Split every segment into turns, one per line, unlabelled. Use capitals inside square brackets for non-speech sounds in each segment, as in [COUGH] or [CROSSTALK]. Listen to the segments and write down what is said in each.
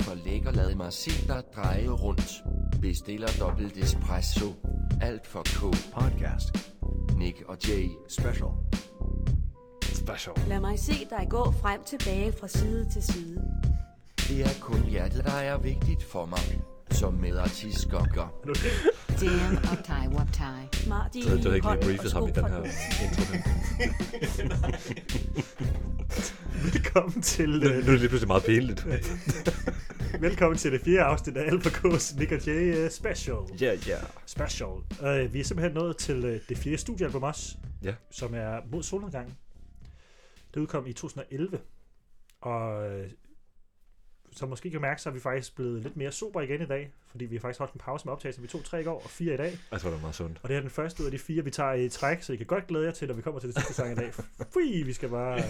for lækker lad mig se dig dreje rundt. Bestiller dobbelt espresso. Alt for K.
Podcast.
Nick og Jay.
Special. Special.
Lad mig se dig gå frem tilbage fra side til side.
Det er kun hjertet, der er vigtigt for mig. Som medartist gokker.
Damn uptie wuptie.
Martin,
Jeg ved, du har ikke
hold
lige
og
briefet ham
sko
i den
fra
her
den.
intro. her.
Velkommen til,
Nu-
øh,
Nu er det lige pludselig meget pinligt.
velkommen til det fjerde afsnit af Alpha K's Nick og Jay øh, Special.
Ja, ja.
Special. Øh, vi er simpelthen nået til øh, det fjerde studiealbum også,
Ja.
som er Mod Solnedgangen. Det udkom i 2011. Og øh, som måske kan mærke, så er vi faktisk blevet lidt mere super igen i dag, fordi vi har faktisk holdt en pause med optagelsen. Vi tog tre i går og fire i dag,
Jeg tror, det var meget sundt.
og det er den første ud af de fire, vi tager i træk, så I kan godt glæde jer til, når vi kommer til det sidste sang i dag. Fui, vi skal bare...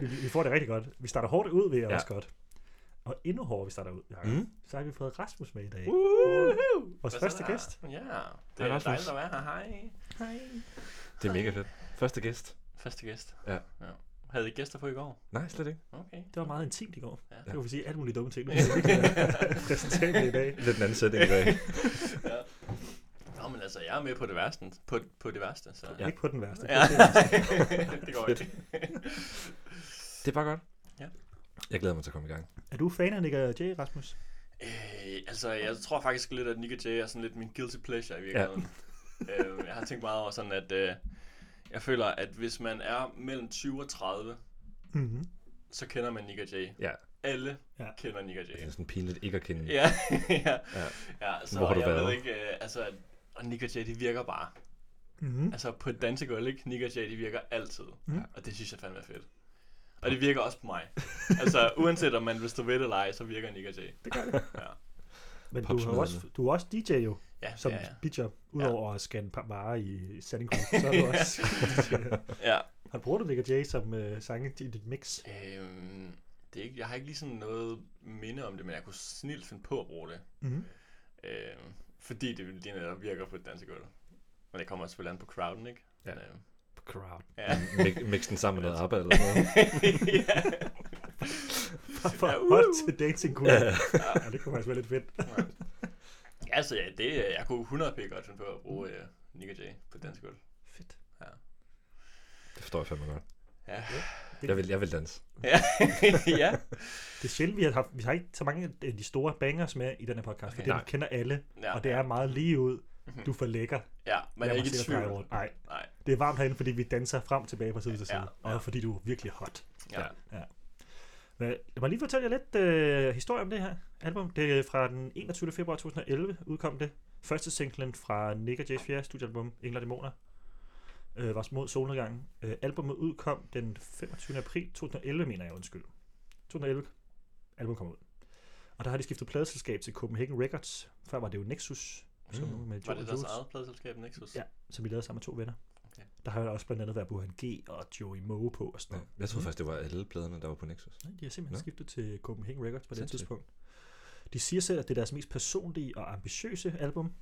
Vi, vi får det rigtig godt. Vi starter hårdt ud, ved jeg ja.
Ja.
også godt. Og endnu hårdere, vi starter ud, Jacob. Mm.
Mm.
Så har vi fået Rasmus med i dag.
Woohoo!
Vores
Hvad så
første
der?
gæst.
Ja, det
Hej,
er
Rasmus.
dejligt at være her. Hej. Hej.
Det er mega fedt. Første gæst.
Første gæst.
Ja.
ja. Havde I gæster på i går?
Nej, slet ikke.
Okay.
Det var meget intimt i går. Ja.
Ja.
Det kunne vi sige alle mulige dumme
[LAUGHS]
ting. Det var virkelig præsentabelt i dag.
Lidt en anden sætning i dag.
Nå, men altså, jeg er med på det værste. På, på det værste, så...
[LAUGHS] Ja. Ikke på den værste.
ja. [LAUGHS] det går ikke.
Det er bare godt.
Ja.
Jeg glæder mig til at komme i gang.
Er du fan af Nick og Jay, Rasmus?
Øh, altså, jeg tror faktisk lidt, at Nick og Jay er sådan lidt min guilty pleasure i virkeligheden. Ja. øh, jeg har tænkt meget over sådan, at øh, jeg føler, at hvis man er mellem 20 og 30,
Mm-hmm.
så kender man Nick og Jay.
Ja.
Alle
Ja.
ja. kender Nick og Jay.
Det er sådan pinligt ikke at kende.
Ja, [LAUGHS] ja.
Ja.
ja. ja så
Hvor har du
jeg ved
været?
ikke, øh, altså, at- og Nick og Jay, de virker bare.
Mm-hmm.
Altså på et dansegulv, ikke? Nick og Jay, de virker altid.
Mm.
Mm. Og det synes jeg fandme er fedt. Og det virker også på
[LAUGHS]
mig. altså uanset om man vil stå ved det eller ej, så virker Nick og Jay. Det gør det. Ja,
Men du, har
popsmederne.
også, du er også DJ jo,
ja,
som
ja,
ja,
ja.
bitjob. Udover at scanne par varer i Sandingkron,
[LAUGHS]
så er du også DJ.
ja.
Har du brugt Nick og Jay som uh, sange i dit mix?
Øhm, det er ikke, jeg har ikke lige sådan noget minde om det, men jeg kunne snilt finde på at bruge det.
Mhm.
Øhm, fordi det lige netop virker på et dansegulv. Men det kommer selvfølgelig an på crowden, ikke?
Ja.
Men, øhm,
Crowd. [LAUGHS]
[LAUGHS]
ja. [LAUGHS]
Mik- Mix den sammen med noget arbejde eller noget.
ja.
For
Ja, uh.
hot til dancing queen. Ja. [LAUGHS] ja, det kunne faktisk være lidt fedt.
[LAUGHS] Ja, så ja, det, øh, jeg kunne 100 p godt finde på at bruge uh, Nick og Jay på dansk gulv.
Fedt.
Det forstår jeg fandme godt.
Ja.
Jeg vil, jeg vil danse.
ja. [LAUGHS] ja.
Det er sjældent, vi har, haft, vi har ikke så mange af de store bangers med i den her podcast, okay, for
Okay.
det
Nej.
vi kender alle,
Ja.
og det er meget lige ud. Du er for lækker.
Ja, man er
Lad mig
ikke
se
i
dig dreje
tvivl.
rundt. Nej,
Nej.
det er varmt herinde, fordi vi danser frem og tilbage på side til side,
Ja,
ja, ja. og fordi du er virkelig hot.
Ja.
Men lad mig lige fortælle jer lidt øh, historie om det her album. Det er fra den 21. februar 2011, udkom det. Første singlen fra Nick og Jay's fjerde studiealbum, Engler og Dæmoner, øh, var mod solnedgangen. Øh, albumet udkom den 25. april 2011, mener jeg, undskyld. 2011 album kom ud. Og der har de skiftet pladeselskab til Copenhagen Records. Før var det jo Nexus, som
Mm.
med
Var
Joe
det deres
Jules,
eget pladeselskab, Nexus?
Ja. som vi lavede sammen med to venner. Okay.
Okay.
Der har jo også blandt andet været Burhan G og Joey Moe på og sådan
Nå,
noget.
Jeg troede faktisk, det var alle pladerne, der var på Nexus.
Nej, de har simpelthen
Nå.
skiftet til Copenhagen Records på det
Sindssygt.
tidspunkt. De siger selv, at det er deres mest personlige og ambitiøse album.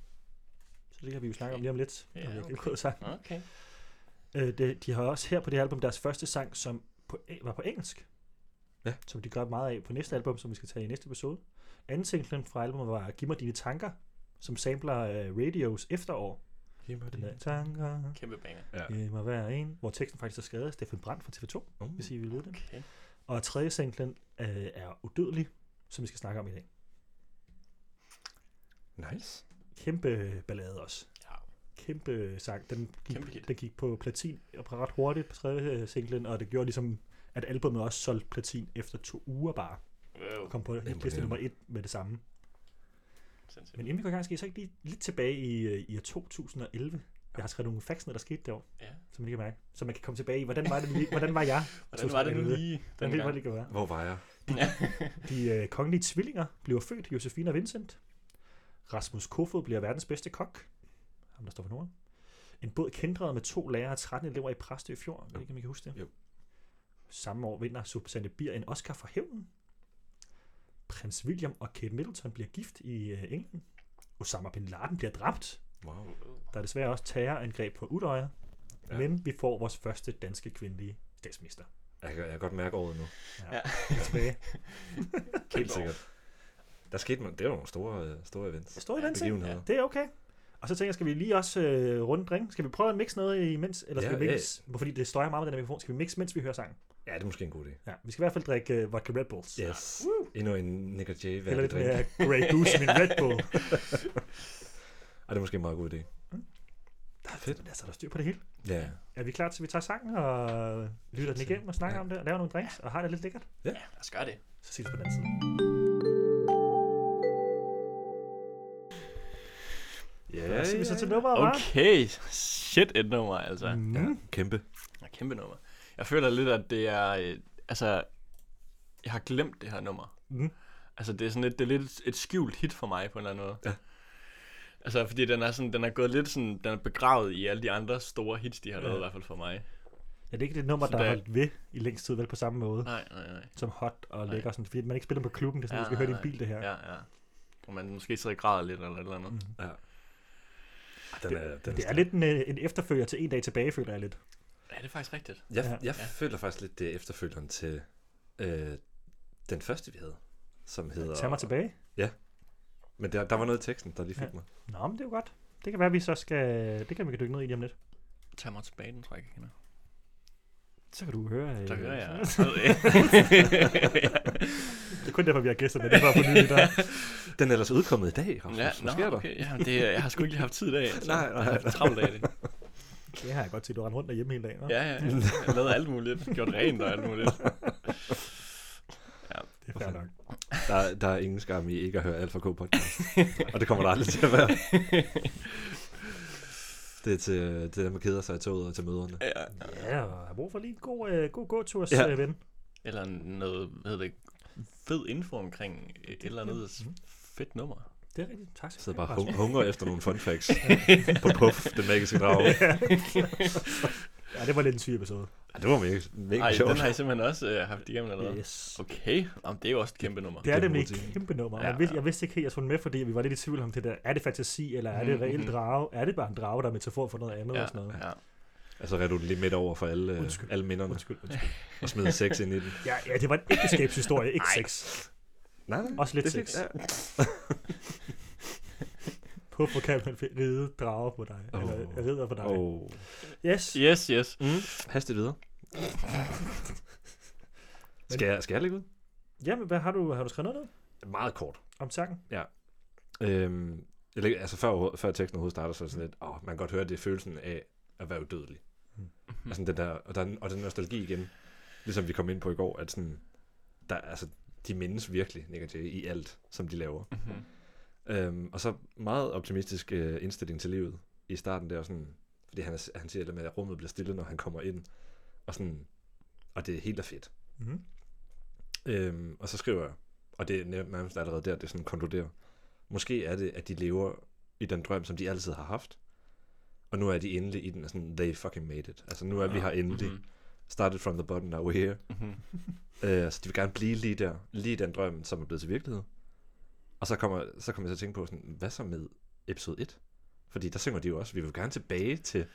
Så det kan vi jo snakke om lige om lidt.
Ja,
når vi har
okay.
gennemgået sangen.
Okay.
Øh, de, de har også her på det her album deres første sang, som på, var på engelsk.
Ja.
Som de gør meget af på næste album, som vi skal tage i næste episode. Anden singlen fra albumet var Giv mig dine tanker, som samler øh, Radios efterår.
Giv mig
Den der, tanker,
Kæmpe banger.
giv mig hver en, hvor teksten faktisk er skrevet af Steffen Brandt fra TV2,
Uh,
hvis I vil vide det.
Okay.
Og tredje singlen øh, er Udødelig, som vi skal snakke om i dag.
nice.
Kæmpe ballade også.
Ja.
Kæmpe sang. Den gik,
Kæmpe hit.
den gik på platin og ret hurtigt på tredje øh, singlen, og det gjorde ligesom, at albumet også solgte platin efter to uger bare.
Wow.
Og kom på hitliste nummer et med det samme.
Sindssygt.
Men inden vi går i gang, skal I så ikke lige lidt tilbage i, øh, i år 2011? Jeg har skrevet nogle facts ned, der skete derovre,
Ja.
som man kan mærke. Så man kan komme tilbage i, hvordan var, det, lige- hvordan var jeg?
[LAUGHS] Hvordan var det nu
2011?
lige den
Hvordan var
gang?
det, det var?
Hvor var jeg?
De øh, kongelige tvillinger bliver født, Josefine og Vincent. Rasmus Kofod bliver verdens bedste kok. Ham, der står for Norden. En båd kendret med to lærere og 13 elever i Præstø Fjord. Jeg ved ikke, om I kan huske det.
Jo.
Samme år vinder Susanne Bier en Oscar for hævnen. Prins William og Kate Middleton bliver gift i øh, England. Osama Bin Laden bliver dræbt.
Wow.
Der er desværre også terrorangreb på Udøjer. Ja.
Ja.
Men vi får vores første danske kvindelige statsminister
Jeg kan, jeg kan godt mærke året nu.
tilbage.
Kæmpe
Helt sikkert. Der skete nogle, det var nogle store, øh, store events.
Stor event, ja,
Begivenheder.
Det er okay. Og så tænker jeg, skal vi lige også øh, runde drink? Skal vi prøve at mixe noget imens? Eller skal
Ja,
vi mix? Fordi det støjer meget med den her mikrofon. Skal vi mixe, mens vi hører sangen?
Ja, det er måske en god idé.
Ja, vi skal i hvert fald drikke øh, vodka Red Bulls.
Yes. Endnu en Nick og Jay
Eller
værdig
lidt
drink.
mere Grey Goose med en Red Bull.
Ej, det er måske en meget god idé. [LAUGHS] Fedt.
Men altså, der er styr på det hele.
Ja.
Er vi klar til, at vi tager sangen og lytter den igennem og snakker
Ja.
om det, og laver nogle drinks, og har det lidt lækkert?
Ja, lad os gøre det.
Så ses vi på den anden side.
Ja,
Ja, så er vi så til nummeret, hva'?
Okay, shit et nummer, altså. Mm.
Ja, kæmpe.
Ja, kæmpe nummer. Jeg føler lidt, at det er... Øh, altså, jeg har glemt det her nummer.
Mhm.
Altså, det er sådan lidt, det er lidt et skjult hit for mig på en eller anden måde. Ja. Altså, fordi den er, sådan, den er gået lidt sådan, den er begravet i alle de andre store hits, de har lavet, i hvert fald for mig.
Ja, det er ikke det nummer,
Så
der har
der-
holdt ved i længst tid, vel på samme måde.
Nej, nej, nej.
Som hot og lækker, sådan, fordi man ikke spiller på klubben, det er sådan, ja, du skal høre din bil, det her. Ja.
Ja, ja. Og man måske sidder og græder lidt, eller et eller andet. Mm.
Ja. Ej, Den er, den
Det er
stærk.
lidt en, øh, en efterfølger til en dag tilbage, føler jeg lidt.
Ja, det er faktisk rigtigt.
Jeg,
Ja.
ja. jeg føler faktisk lidt, det er efterfølgeren til øh, den første, vi havde, som hedder...
Tag mig tilbage.
Men der, der var noget i teksten, der lige fik
Ja.
ja. mig.
Nå, men det er jo godt. Det kan være, vi så skal... Det kan vi kan dykke ned i lige om lidt.
Tag mig tilbage, den tror jeg, jeg kender.
Så kan du høre... Øh,
Der hører
[LAUGHS]
jeg.
så-
ja,
Det er kun derfor, vi har gæster med. Det var for nylig der.
Den er ellers udkommet i dag,
[LAUGHS]
Rasmus. Ja, Hvad sker
nå,
der?
okay. Ja, det, jeg har sgu ikke lige haft tid i dag. Altså.
Nej, nej,
Jeg har haft en travl dag i dag.
[LAUGHS] Det har jeg godt set, du rendte rundt derhjemme hele dagen. hva'?
Ja, ja. Jeg lavede alt muligt. Gjort rent og alt muligt.
Det er fair nok.
Der, er- der er ingen skam i ikke at høre Alfa K podcast. og det kommer der aldrig til at være. Det er til, til dem, der keder sig i toget og til møderne.
[LAUGHS] Ja.
Ja, og har brug for lige en god, øh, god gåtur, ja.
Ja.
øh, ven.
Eller noget, hvad hedder det, fed info omkring et eller andet fedt nummer.
Det er rigtigt. Tak skal
Så
du
bare
have, [LAUGHS]
hun- hungrer efter nogle fun facts på Puff, den magiske drage.
Rasmus. [LAUGHS] Ja, det var lidt en syg episode.
Ej, det var mega, mega
Ej,
sjovt.
den har I simpelthen også øh, haft igennem eller hvad?
Yes.
Okay, Jamen, det er jo også et kæmpe nummer.
Det er
Det er
nemlig
en god
et
ting.
kæmpe nummer. Ja,
Ja,
jeg, vidste,
ja.
jeg vidste ikke helt, jeg skulle med, fordi vi var lidt i tvivl om det der. Er det fantasi, eller er det reelt drage? Er det bare en drage, der er metafor for noget andet?
Ja,
og sådan noget?
ja.
Altså redder du den lige midt over for alle, øh,
Undskyld.
alle minderne
Undskyld, undskyld.
[LAUGHS] og smider sex ind i den.
Ja, ja, det var en ægteskabshistorie, ikke sex.
Nej, nej.
Også lidt
det
sex.
fik- Ja.
Hvorfor kan man ride drager på dig? Oh. Eller
Åh.
ridder på dig? Oh.
Og
Yes.
Yes, yes.
hastigt videre. skal, jeg, skal jeg lægge ud?
Jamen, hvad har du, har du skrevet noget ned
Meget kort.
om sangen?
Øhm, jeg lægger, altså før, før teksten overhovedet starter, så er det sådan lidt, åh, man kan godt høre, det er følelsen af at være udødelig. Mm. Altså den der, og, der, og den nostalgi igen, ligesom vi kom ind på i går, at sådan, der, altså, de mindes virkelig Nick og Jay i alt, som de laver.
Mhm.
Øhm, og så meget optimistisk øh, indstilling til livet i starten der, sådan, fordi han, er- han siger det med, at rummet bliver stille, når han kommer ind, og, sådan, og det er helt og fedt.
Mhm.
Øhm, og så skriver jeg, og det er nær- nærmest allerede der, det sådan konkluderer, måske er det, at de lever i den drøm, som de altid har haft, og nu er de endelig i den, og sådan, they fucking made it. Altså nu er vi her endelig.
Mhm.
Started from the bottom, now we're here.
Mhm.
[LAUGHS] Øh, så de vil gerne blive lige der, lige den drøm, som er blevet til virkelighed. Og så kommer, så kommer jeg til at tænke på, sådan, hvad så med episode 1? Fordi der synger de jo også, vi vil gerne tilbage til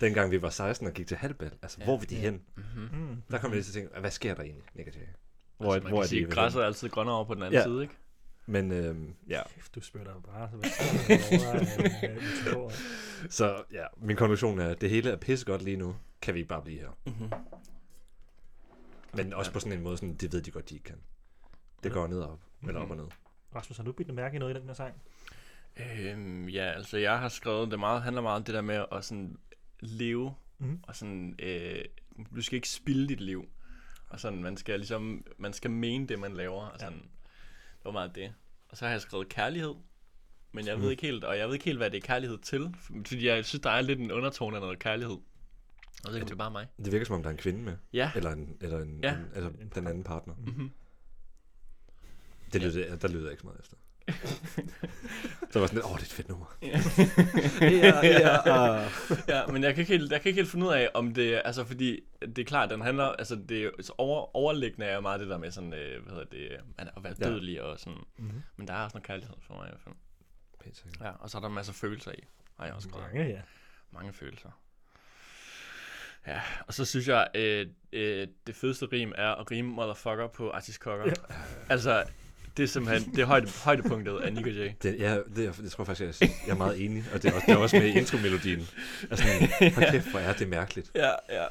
dengang vi var 16 og gik til halvbal. Altså, ja, hvor vil de ja. hen?
Mm.
Der kommer jeg til at tænke, hvad sker der egentlig, Nick og Jay? Hvor,
Mhm. Altså, man kan sige,
vil hen?
græsset er altid grønnere over på den anden
Ja.
side, ikke?
Men øhm, ja,
Kæft, du spørger dig bare. Så hvad sker der
[LAUGHS]
derovre, øh, øh, metaforer?
så ja, min konklusion er, at det hele er pissegodt lige nu. Kan vi ikke bare blive her?
Mhm.
Men også på sådan en måde, sådan, det ved de godt, de ikke kan. Det går ned og op, eller op og ned.
Rasmus, har du bidt mærke i noget i den her sang?
Øhm, ja, altså jeg har skrevet, det meget, handler meget om det der med at sådan leve,
Mhm.
mm. og sådan, øh, du skal ikke spilde dit liv. Og sådan, man skal ligesom, man skal mene det, man laver, og sådan, det var meget det. Og så har jeg skrevet kærlighed, men jeg ved ikke helt, og jeg ved ikke helt, hvad det er kærlighed til, fordi jeg synes, der er lidt en undertone af noget kærlighed. Og det er det bare mig.
Det virker som om, der er en kvinde med.
Ja,
Eller, en, eller, en,
Ja.
ja. en, eller den anden partner. Mm-hmm. Det lyder, der lyder jeg ikke så meget [LAUGHS] efter. så jeg var sådan lidt, åh, det er et fedt nummer.
[LAUGHS] ja, men jeg kan, ikke helt, jeg kan ikke helt finde ud af, om det altså fordi det er klart, den handler, altså det er jo- så over, overliggende er jo meget det der med sådan, øh, hvad hedder det, øh, man- at være
Ja.
dødelig og sådan, mm-hmm. men der er også noget kærlighed for mig i hvert fald.
Pænt sagt.
Ja, og så er der masser af følelser i, har jeg også skrevet.
Mange, ja.
Mange følelser. Ja, og så synes jeg, øh, øh, det fedeste rim er at rime motherfucker på Artis Kokker. Ja. Altså, Det er simpelthen det er højde, højdepunktet af Nick og Jay.
Det, ja, det, er- det tror jeg faktisk, jeg, jeg er meget enig, og det er også, det er også med i intromelodien. Altså, sådan, hold kæft, hvor er det mærkeligt.
Ja, ja.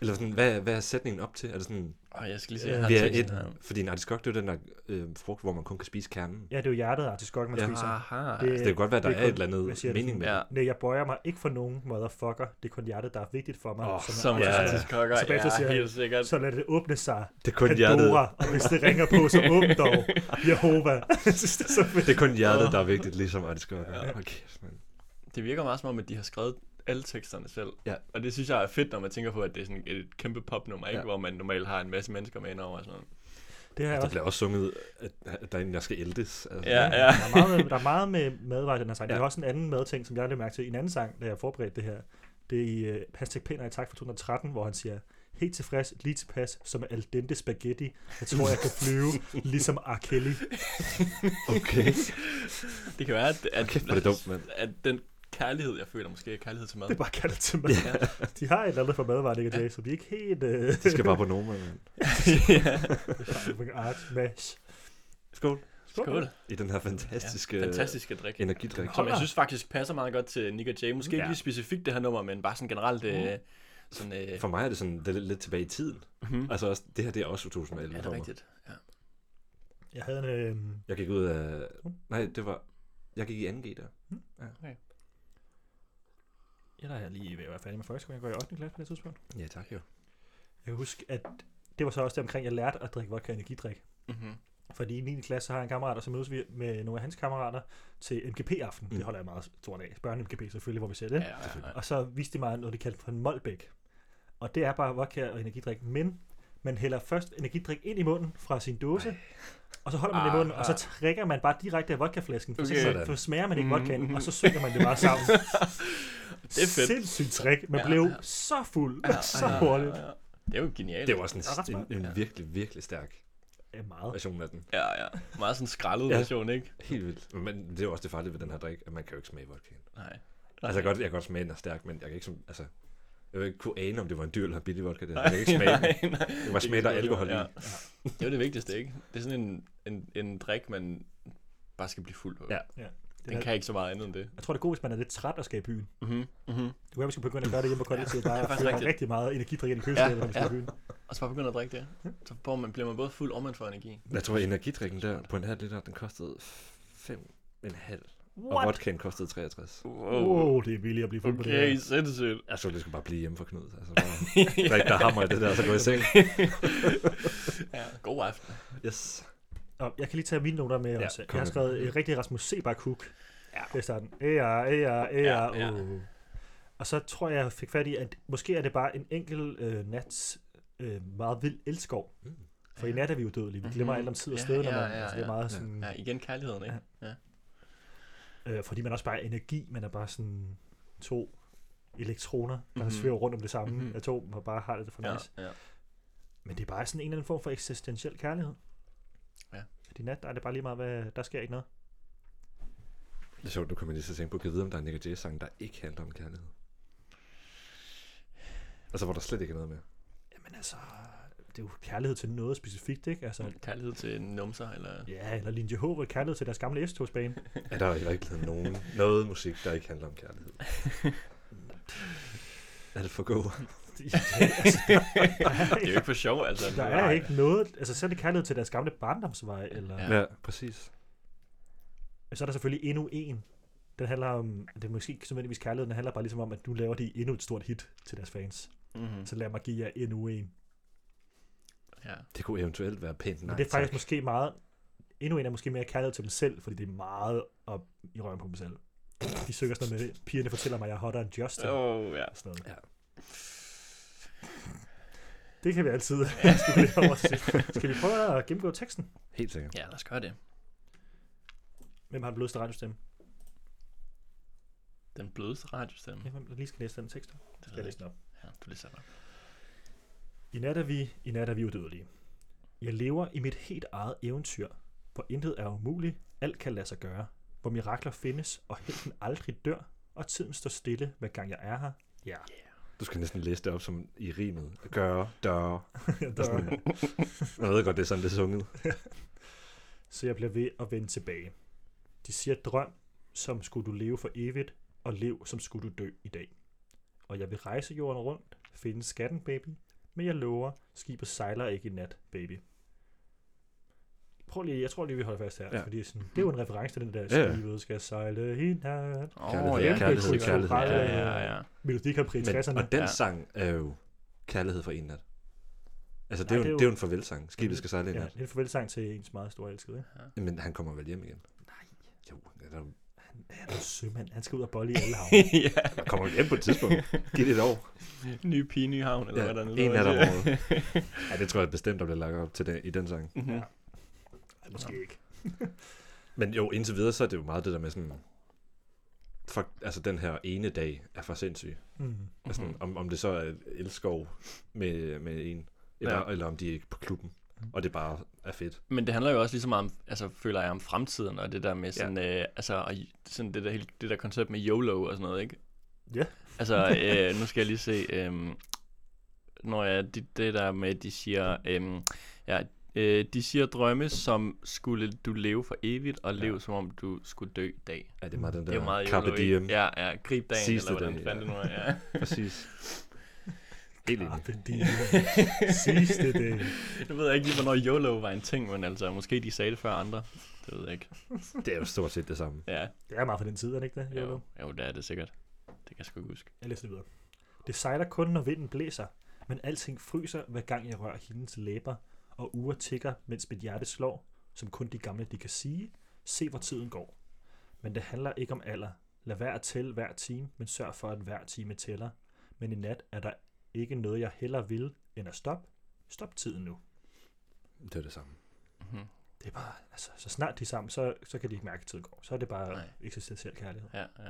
Eller sådan, hvad, hvad er sætningen op til? Er det sådan,
Og jeg skal lige se, jeg har
vi er
teksten her.
et, fordi en artiskok, det er jo den der øh, frugt, hvor man kun kan spise kernen.
Ja, det er jo hjertet af artiskokken, man
Ja.
ja. spiser.
Aha.
Det-
Altså, det kan godt være, at der
det
er,
er
et
kun-
eller
hvad
andet
siger det
mening med
Ja.
det.
Nej, jeg bøjer mig ikke for nogen motherfucker. Det er kun hjertet, der er vigtigt for mig.
Åh,
jeg
Som
aldrig
ja.
Ja.
skal-
artisk kokker,
Så bagefter siger
ja,
jeg-
helt sikkert.
Så lad det åbne sig.
Det er kun hjertet,
Pandora, og hvis det ringer på, så åbn dog.
[LAUGHS]
Jehova. [LAUGHS] Jeg synes, det er så fedt.
det er kun hjertet, der er vigtigt, ligesom artiskokker. Ja. Hold kæft, mand.
[LAUGHS] Det virker meget som om, at de har skrevet alle teksterne selv.
Ja.
Og det synes jeg er fedt, når man tænker på, at det er sådan et kæmpe popnummer, ikke?
Ja.
hvor man normalt har en masse mennesker med indover og sådan noget.
Det har jeg
Det
også.
bliver også sunget, at, at der er en, der skal eldes. Altså,
Ja, ja.
Der er meget, der er meget med madvarer i den her sang. Ja. Der
Ja.
er også en anden madting, som jeg lagde mærke til i en anden sang, da jeg forberedte det her. Det er i uh, Hashtag Pæner i tak fra 2013, hvor han siger, helt tilfreds, lige tilpas, som al dente spaghetti. Jeg tror, jeg kan flyve, ligesom R. Kelly.
[LAUGHS] Okay.
Det kan være, at, at,
Kæft, hvor er det dumt, mand.
at den kærlighed, jeg føler måske er kærlighed til mad.
Det er bare kaldet til mad. Ja. De har et eller andet for madvarer, Nick og Jay, så de er ikke helt... Uh,
De skal bare på Noma, mand.
[LAUGHS] ja.
art mash.
Skål.
Skål.
I den her fantastiske,
Ja,
ja,
fantastiske drik.
energidrik.
Som jeg synes faktisk passer meget godt til Nick og Jay. Måske ikke
Ja. Mm-hmm.
lige specifikt det her nummer, men bare sådan generelt... Øh, sådan, øh,
For mig er det sådan det er lidt, lidt tilbage i tiden.
Mhm.
Altså også, det her det er også 2011
ja, det
for
er
mig.
rigtigt. Ja.
Jeg havde en... Øh,
Jeg gik ud af... Nej, det var... Jeg gik i 2G der.
jeg er lige ved at være færdig med folkeskolen. Jeg går i 8. klasse på det tidspunkt.
Ja, tak jo.
Jeg kan huske, at det var så også det omkring, jeg lærte at drikke vodka og energidrik.
Mm-hmm.
Fordi i 9. klasse så har jeg en kammerat, og så mødes vi med nogle af hans kammerater til MGP-aften. Mm. Det holder jeg meget stort af. Børne-MGP selvfølgelig, hvor vi ser det.
Ja, ja, ja.
Og så viste de mig noget, de kaldte for en Molbæk. Og det er bare vodka og energidrik, men man hælder først energidrik ind i munden fra sin dåse, og så holder
Ah,
man det i munden, og så trækker man bare direkte af vodkaflasken, for okay.
Okay.
så, så smager man ikke vodkaen, og så synger man det bare sammen.
Mm-hmm. [LAUGHS] Det er fedt.
Sindssygt trick. Man blev så fuld, så hurtigt.
ja. Det er jo genialt.
Det var sådan
ret
en,
smart.
en, en virkelig, virkelig stærk
Ja, meget.
version af den.
Ja, ja. Meget sådan en skrællet
Ja.
version, ikke?
Helt vildt. Men det er jo også det farlige ved den her drik, at man kan jo ikke smage vodkaen.
Nej.
Altså, jeg kan godt, jeg kan godt smage den er stærk, men jeg kan ikke som... Altså, jeg vil ikke kunne ane, om det var en dyr eller en billig vodka. Der. Jeg kan ikke smage den.
nej, nej.
Det var smag, der er alkohol i.
Ja. Det er jo det vigtigste, ikke? Det er sådan en, en, en drik, man bare skal blive fuld på.
Ja.
Ja.
Den kan ikke så meget andet end det.
Jeg tror, det er godt, hvis man er lidt træt og skal i byen.
Mm-hmm. Mm-hmm.
Det kunne være, vi skulle begynde at gøre det hjemme på kollektivet, bare
det er
at
faktisk
føre
rigtigt.
rigtig meget energidrik ind i køleskabet,
Ja,
når vi skal i
ja.
byen.
Og så bare begynde at drikke det. Så får man, bliver man både fuld og man får energi.
Jeg tror, at energidrikken der på en halv liter, den kostede 5,5. Og
What?
vodkaen kostede 63.
Wow, det er billigt at blive fuld på det
Okay,
her.
sindssygt.
Jeg så, det skulle bare blive hjemme for Knud. Altså, bare [LAUGHS]
[LAUGHS]
drik der hammer i det der, og så gå i seng.
Ja, god aften.
Yes.
Og jeg kan lige tage mine noter med
Ja,
ja, også.
kom
Jeg har
med.
skrevet øh, rigtig Rasmus Sebar Cook. Ja. Det er starten. Ære, ære, ære,
Ja, ja.
ja, ja. Og så tror jeg, jeg fik fat i, at måske er det bare en enkelt øh, nats øh, meget vild elskov.
Mm.
For i nat er vi jo dødelige. Vi glemmer
Mhm.
alt om tid og
Ja,
sted, når
ja,
man,
ja,
altså, det er
ja.
meget sådan,
Ja, igen kærligheden, ikke? Ja.
øh, fordi man også bare er energi, man er bare sådan to elektroner, der
Mhm.
mm-hmm. svæver rundt om det samme
Mhm.
mm-hmm. atom, og bare har det for
Ja,
nice.
ja.
Men det er bare sådan en eller anden form for eksistentiel kærlighed.
Ja.
Fordi i nat, der er det bare lige meget, hvad, der sker ikke noget.
Det er sjovt, nu kommer jeg lige til at tænke på, kan jeg vide, om der er en Nick Jay sang, der ikke handler om kærlighed? Altså, hvor der slet ikke er noget med.
Jamen altså, det er jo kærlighed til noget specifikt, ikke? Altså,
Kærlighed til numser, eller...
ja, eller Linje H, kærlighed til deres gamle S-togsbane.
Ja, der er jo heller ikke lavet nogen, noget musik, der ikke handler om
[LAUGHS]
kærlighed. Er det for god?
[LAUGHS] Det er jo ikke for sjov, altså.
altså, Der er ikke noget, altså selv kærlighed til deres gamle barndomsvej, eller...
Ja.
Ja.
Ja, præcis.
Så er der selvfølgelig endnu en. Den handler om, det er måske ikke så nødvendigvis kærlighed, den handler bare ligesom om, at nu laver de endnu et stort hit til deres fans.
Mm-hmm.
Så lad mig give jer endnu en.
Ja.
Det kunne eventuelt være pænt nej,
Men det er faktisk
tak.
måske meget, endnu en er måske mere kærlighed til dem selv, fordi det er meget op i røven på dem selv. De søger sådan noget med, pigerne fortæller mig, at jeg er hottere end Justin. Oh.
Oh, ja.
Sådan noget.
Ja.
Det kan vi altid [LAUGHS] studere over. Skal vi prøve at gennemgå teksten?
Helt sikkert.
Ja, lad os gøre det.
Hvem har den blødeste radiostemme?
Den blødeste radiostemme.
Ja, hvem der lige skal læse den tekst? op?
Det
Skal jeg
ved jeg
læse den op?
ikke. Ja, du læser den. op.
I nat er vi, i nat er vi udødelige. Jeg lever i mit helt eget eventyr, hvor intet er umuligt, alt kan lade sig gøre, hvor mirakler findes, og helten aldrig dør, og tiden står stille, hver gang jeg er her. Ja.
Du skal næsten læse det op som i rimet. Gøre, døre.
[LAUGHS] Der,
Jeg ved godt, det er sådan, det er sunget.
så jeg bliver ved at vende tilbage. De siger, drøm, som skulle du leve for evigt, og lev, som skulle du dø i dag. Og jeg vil rejse jorden rundt, finde skatten, baby, men jeg lover, skibet sejler ikke i nat, baby. Prøv lige, jeg tror lige, vi holder fast her, ja.
Ja.
fordi sådan, det er jo en reference til den der,
Ja, ja.
skibet skal sejle i nat.
Kærlighed,
ja,
kærlighed,
det er
kærlighed.
godt. Ja,
Ja,
ja, ja.
Melodi Grand Prix i 60'erne.
Men, og den
Ja.
ja. sang er jo kærlighed for en nat. Altså, det, er
Nej,
jo,
det er jo-
det er jo en farvelsang. Skibet skal sejle en
Ja,
nat.
det er en farvelsang til ens meget store elskede. Ikke?
Men han kommer vel hjem igen. Nej. Jo, han er jo-
Han er jo sømand. Han skal ud og bolle i alle havne.
[LAUGHS]
ja.
han kommer hjem på et [LAUGHS]
[LAUGHS]
tidspunkt. Giv det et år.
Ny pige, ny havn, eller
Ja,
ja, hvordan
en nat om
[LAUGHS]
året. Ja, det tror jeg bestemt, der bliver lagt op til den, i den sang.
mm-hmm.
Nej, måske ikke.
Men jo, indtil videre, så er det jo meget det der med sådan... Fuck, altså den her ene dag er for sindssyg.
Mm.
Altså,
Mhm.
mm-hmm. om, om det så er elskov med, med en, eller,
Ja.
ja. eller om de er på klubben, og det bare er fedt.
Men det handler jo også lige så meget om, altså føler jeg, om fremtiden, og det der med sådan, ja. øh, altså og sådan det der, hele, det der koncept med YOLO og sådan noget, ikke?
Ja.
[LAUGHS]
Altså, øh, nu skal jeg lige se, øh, når jeg, det, det der med, de siger, øh, ja, øh, de siger drømme, som skulle du leve for evigt, og leve som om du skulle dø i dag.
Ja, det er meget den der
Det er jo meget
Carpe
ikke?
[LAUGHS] Diem.
Ja, ja, grib dagen,
Sidste
eller hvordan
dag,
fanden
ja.
det nu er. Ja.
Præcis. Helt enig.
Carpe diem. Ah, Sidste dag.
[LAUGHS] Nu ved jeg ikke lige, hvornår YOLO var en ting, men altså, måske de sagde det før andre. Det ved jeg ikke.
Det er jo stort set det samme.
Ja,
Det er meget for den tid, er det ikke det?
jo,
Jo.
jo det er det sikkert. Det kan jeg sgu ikke huske.
Jeg læser det videre. Det sejler kun, når vinden blæser, men alting fryser, hver gang jeg rører hendes læber, og uger tigger, mens mit hjerte slår, som kun de gamle de kan sige. Se, hvor tiden går. Men det handler ikke om alder. Lad være at tælle hver time, men sørg for, at hver time tæller. Men i nat er der ikke noget, jeg hellere vil, end at stoppe. Stop tiden nu.
Det er det samme.
Mm-hmm.
Det er bare, altså, så snart de er sammen, så, så kan de ikke mærke, at tiden går. Så er det bare
Nej.
Nej. eksistentiel kærlighed.
Ja, ja, ja.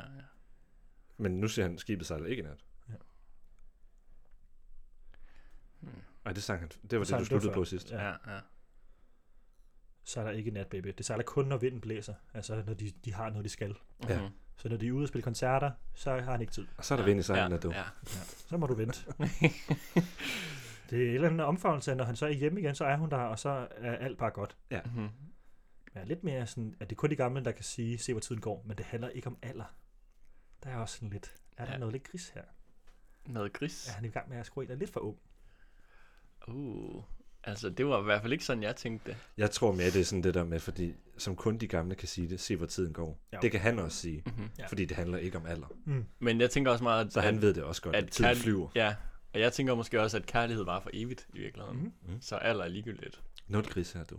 Men nu siger han, skibet sejler ikke i nat.
Ja.
Ja. Ej, det sang han. Det var
sang
det, du
han
sluttede
før.
på sidst.
Ja.
ja, ja.
Så er der ikke nat, baby. Det sejler kun, når vinden blæser. Altså, når de, de har noget, de skal.
Ja.
Mhm.
Så når de er ude og spille koncerter, så har han ikke tid.
Og så er der vind i
ja,
sejlen, at du.
ja.
Så må du vente. det er en eller anden omfavnelse, at når han så er hjemme igen, så er hun der, og så er alt bare godt.
Mm-hmm.
Men jeg er lidt mere sådan, at det er kun de gamle, der kan sige, se hvor tiden går, men det handler ikke om alder. Der er også sådan lidt, er der
Ja.
ja. noget lidt gris her?
Noget gris.
Er han i gang med at skrue en, der er lidt for ung?
Uh. Altså, det var i hvert fald ikke sådan, jeg tænkte det.
Jeg tror mere, det er sådan det der med, fordi som kun de gamle kan sige det, se hvor tiden går.
Ja.
Ja. Det kan han også sige,
Mm-hmm.
Ja.
fordi det handler ikke om alder.
Men jeg tænker også meget, at,
Så han ved det også godt,
at
at tiden
kærl-
flyver.
ja, og jeg tænker måske også, at kærlighed var for evigt i virkeligheden.
Mhm.
Mm-hmm. Så alder er ligegyldigt.
Nul gris her, du.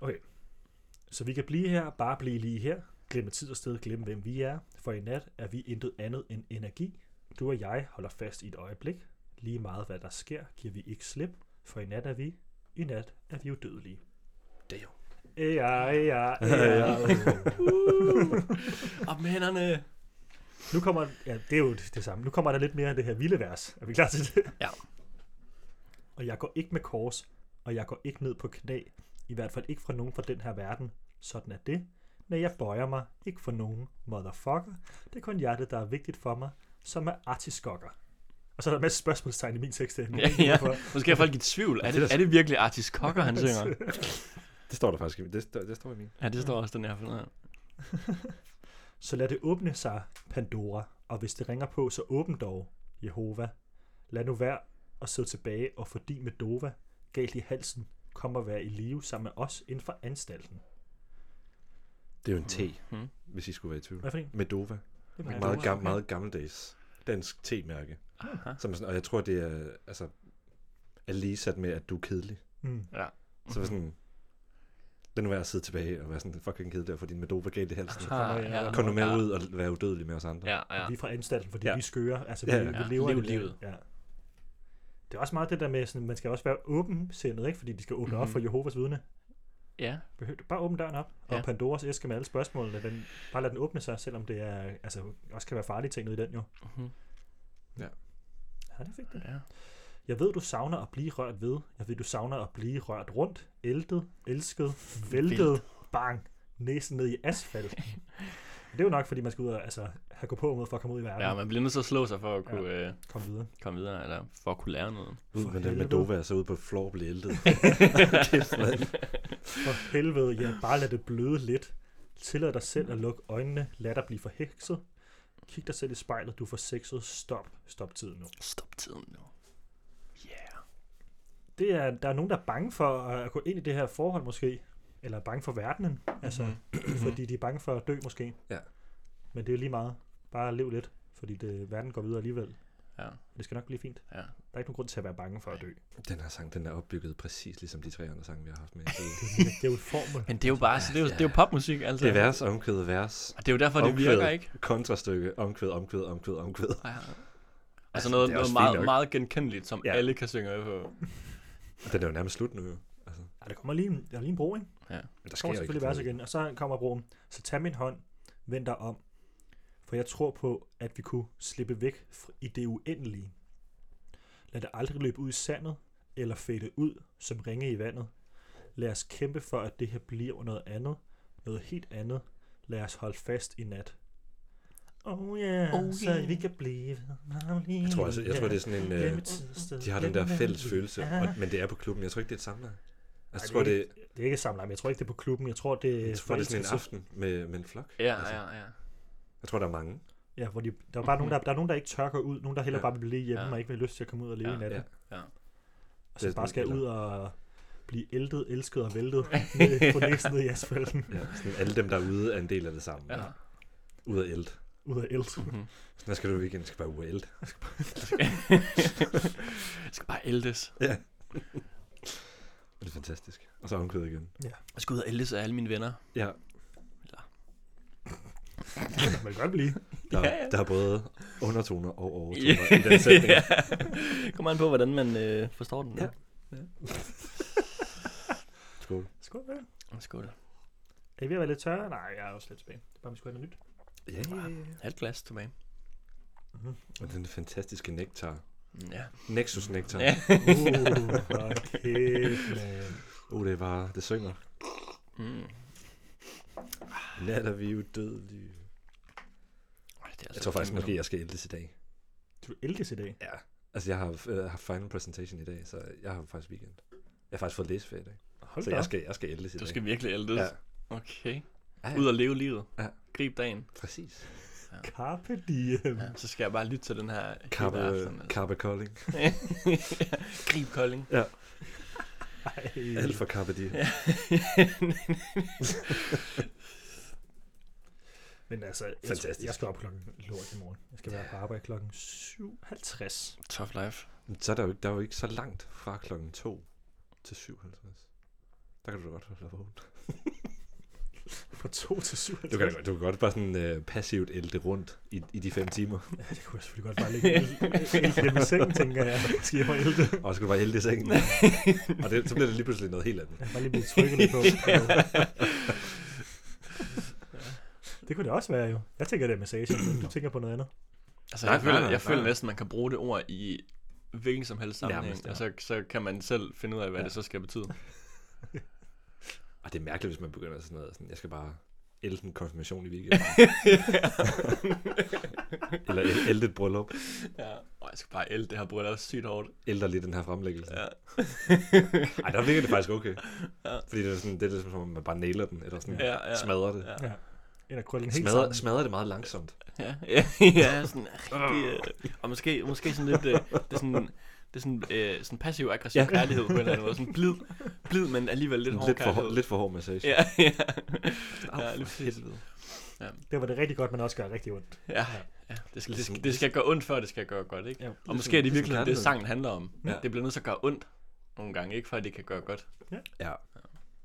Okay. Så vi kan blive her, bare blive lige her. Glemme tid og sted, glemme hvem vi er. For i nat er vi intet andet end energi. Du og jeg holder fast i et øjeblik. Lige meget hvad der sker, giver vi ikke slip. For i nat er vi, i nat er vi udødelige.
Det er jo.
Ja, ja, ja.
Op med hænderne!
Nu kommer, ja, det er jo det samme. Nu kommer der lidt mere af det her vilde vers. Er vi klar til det?
Ja.
Og jeg går ikke med kors, og jeg går ikke ned på knæ. I hvert fald ikke fra nogen fra den her verden. Sådan er det. Men jeg bøjer mig ikke for nogen motherfucker. Det er kun hjertet, der er vigtigt for mig, som er artiskokker. Og så er der en masse spørgsmålstegn i min tekst. Ja,
[LAUGHS] Ja, ja. Måske er folk i tvivl. Er det, er det virkelig Artis Kokker, [LAUGHS] han synger?
Det står der faktisk i det, står- det står i min.
Ja, det står også den her for noget.
Så lad det åbne sig, Pandora, og hvis det ringer på, så åbn dog, Jehova. Lad nu være at sidde tilbage og få din Medova galt i halsen. Kom og vær i live sammen med os inden for anstalten.
Det er jo en te,
Mhm.
hvis I skulle være i tvivl.
Hvad for en?
Medova.
Det er
Ja,
Meget,
Medova,
gam,
okay.
meget gammeldags dansk te-mærke.
Aha.
Som er sådan, og jeg tror, det er, altså, er lige sat med, at du er kedelig.
mm.
Så var sådan, den var jeg at sidde tilbage og være sådan fucking kedelig og få din Medova galt i halsen.
Ah, ja.
Kom nu med ud og være udødelig med os andre.
Ja, ja.
Vi er fra anstalten, fordi ja.
Ja.
vi er skøre. Altså, vi,
Ja,
ja.
ja.
vi lever i
Lev
det der.
livet.
Ja. Det er også meget det der med, sådan, man skal også være åbensindet, ikke? fordi de skal åbne mm-hmm. op
Mhm.
for Jehovas vidne.
Ja,
Behøver du bare åbne døren op, og
Ja.
Pandoras æske med alle spørgsmålene, den, bare lad den åbne sig, selvom det er, altså, også kan være farlige ting nede i den jo.
Mhm.
Ja.
Ja, det fik det.
ja.
Jeg ved, du savner at blive rørt ved. Jeg ved, du savner at blive rørt rundt.
[LAUGHS]
Æltet, elsket, væltet, bang, næsen ned i asfalt. Men det er jo nok, fordi man skal ud og altså, have gå på mod for at komme ud i verden
Ja,
og
man bliver nødt til at slå sig for at kunne øh,
komme videre.
komme videre, eller for at kunne lære noget.
Ud
For
med den med
helvede.
Dova, og så ud på et floor og blive
[LAUGHS]
æltet.
For helvede, ja, bare lad det bløde lidt. Tillad dig selv at lukke øjnene. Lad dig blive forhekset. Kig dig selv i spejlet, du er for sexet. Stop. Stop tiden nu.
Stop tiden nu. Yeah.
Det er, der er nogen, der er bange for at gå ind i det her forhold måske. Eller er bange for verdenen. Altså,
Mhm.
[CLEARS THROAT] fordi de er bange for at dø måske.
Ja.
Men det er jo lige meget. Bare lev lidt, fordi det, verden går videre alligevel.
Ja,
Det skal nok blive fint.
ja.
Der er ikke nogen grund til at være bange for at
[LAUGHS]
dø.
Den her sang, den er opbygget præcis ligesom de tre andre sange, vi har haft med.
Det er jo en formel.
Men det er jo bare, så Altså, det er jo, det er jo popmusik, altså.
Det er vers, omkvæd, vers.
Og det er jo derfor, det virker, ikke?
Kontrastykke, omkvæd, omkvæd, omkvæd, omkvæd.
Ja. Altså noget,
det er
noget
også fint
meget,
nok.
meget genkendeligt, som
Ja.
ja. alle kan synge med på.
Den er jo nærmest slut nu, jo. Altså,
Ja, der kommer lige en, der er lige en bro, ikke?
men der
kommer selvfølgelig vers igen, og så kommer broen. Så tag min hånd, vend dig om, for jeg tror på, at vi kunne slippe væk fr- i det uendelige. Lad det aldrig løbe ud i sandet, eller fade ud som ringe i vandet. Lad os kæmpe for, at det her bliver noget andet, noget helt andet. Lad os holde fast i nat. Oh yeah, oh
Oh
yeah. så
yeah.
vi kan blive.
Jeg tror, altså, jeg tror, det er sådan en... Øh,
sådan,
de har den der fælles følelse, og, men det er på klubben. Jeg tror ikke, det er et samleje. Altså, jeg tror, det,
Det er ikke samlet, men jeg tror ikke, det er på klubben. Jeg tror, det er
jeg tror, det er sådan en
forelskelse.
aften med, med en flok.
Ja,
altså,
ja, ja.
Jeg tror, der er mange.
Ja, hvor de, der er bare nogen, der, der er nogen, der ikke tør gå ud, nogen, der heller
Ja.
bare vil blive hjemme
Ja.
ja. og ikke vil have lyst til at komme ud og leve
Ja,
i natten.
ja, ja.
Og så
Det er
bare skal
sådan,
ud og blive ældet, elsket og væltet ned, på næsen ned i asfalten.
Ja, sådan alle dem, der er ude, er en del af det samme.
ja.
Ud af eld.
Ud af eld.
[LAUGHS] Sådan skal du ikke skal bare ud af eld.
[LAUGHS] Jeg skal bare eldes.
Ja. [LAUGHS] det er fantastisk. Og så omkvædet igen.
Jeg skal ud og eldes af alle mine venner.
Ja,
Man kan godt blive.
der,
Ja, ja.
der er både undertoner og overtoner yeah. i den
[LAUGHS]
sætning.
Ja. Kommer an på, hvordan man øh, forstår den.
Ja. Skål.
Skål, ja.
Skål.
Er I ved at være lidt tørre? Nej, jeg er også lidt tilbage. Det er bare, vi skulle
[LAUGHS]
have noget nyt.
Ja, ja, ja.
Halvt glas tilbage.
Og den fantastiske nektar.
Ja.
Nexus nektar.
Ja.
Uh, hvor kæft, man.
Uh, det er bare, det synger.
Mm.
Nat er vi udødelige.
Ej, det er altså
Jeg tror faktisk
kæmpe
måske, jeg skal ældes i dag.
Du ældes i dag.
Ja. Altså, jeg har øh, haft final presentation i dag, så jeg har faktisk weekend. Jeg har faktisk fået læseferie i dag.
Hold
Så
da
jeg
op.
skal, jeg skal ældes i
Du
dag.
skal virkelig eldes.
Ja.
Ja. Okay.
Ja,
Ud
ja.
og leve livet.
Ja.
Grib dagen.
Præcis.
Carpe diem.
Ja, så skal jeg bare lytte til den her hele
Carpe,
aften, altså.
Carpe Calling.
[LAUGHS] Grib kolding.
Ej.
Alt for Carpe Diem. Ja.
Men altså, jeg,
Fantastisk.
jeg skal op klokken lort i morgen. Jeg skal være på arbejde klokken 7.50.
Tough life.
Så er der, jo, ikke- der er jo ikke så langt fra klokken 2 til 57. Der kan du da godt holde dig vågen.
Fra 2 til 7.
Du kan, du kan godt bare sådan øh, passivt ælte rundt i, i de 5 [LAUGHS] timer.
Ja, det kunne jeg selvfølgelig godt bare ligge helt hjemme i sengen, tænker jeg. Skal jeg bare ælte?
Og så kan du bare ælte i sengen. [LAUGHS] og det, så bliver det lige pludselig noget helt andet.
Jeg kan bare lige blive trykket lidt
[LAUGHS]
på. det kunne det også være jo. Jeg tænker, det er massage, men du tænker på noget andet.
Altså,
Nej,
jeg
nej,
føler,
nej,
jeg føler
nej.
næsten, man kan bruge det ord i hvilken som helst sammenhæng,
Nærmest,
Nærmest,
ja.
ja. og så, så kan man selv finde ud af, hvad ja. det så skal betyde.
Og det er mærkeligt, hvis man begynder sådan noget. Sådan, jeg skal bare ælte en konfirmation i [LAUGHS] weekenden. Eller æl- ælte et bryllup.
ja. Og jeg skal bare elde det her bryllup sygt hårdt.
Ældre lige den her fremlæggelse.
Ja.
[LAUGHS] Ej, der virker det faktisk okay.
Ja.
Fordi det er, sådan, det er ligesom, som om man bare nailer den, eller sådan
Ja, ja.
smadrer det.
Ja.
Ja. Eller krølle den helt
Smadrer,
sammen.
smadrer det meget langsomt.
Ja, ja, ja sådan rigtig... Øh, [LAUGHS] og måske, måske sådan lidt... Øh, det er sådan, det er sådan, øh, sådan passiv-aggressiv
Ja.
ja. kærlighed på en eller anden måde. Sådan blid, blid men alligevel lidt hård
Lidt for,
kærlighed.
hår- lidt for hård massage.
[LAUGHS] Ja, ja.
Au,
ja, lige
for
præcis.
helvede.
Det var det rigtig godt, men også gør rigtig ondt.
Ja, ja. Det, skal, det, skal, det skal gøre ondt, før det skal gøre godt, ikke?
Ja.
Og måske er det
ligesom
virkelig det,
kærlighed.
sangen handler om.
Ja.
Ja. Det bliver nødt til at gøre ondt nogle gange, ikke? Før det kan gøre godt.
Ja,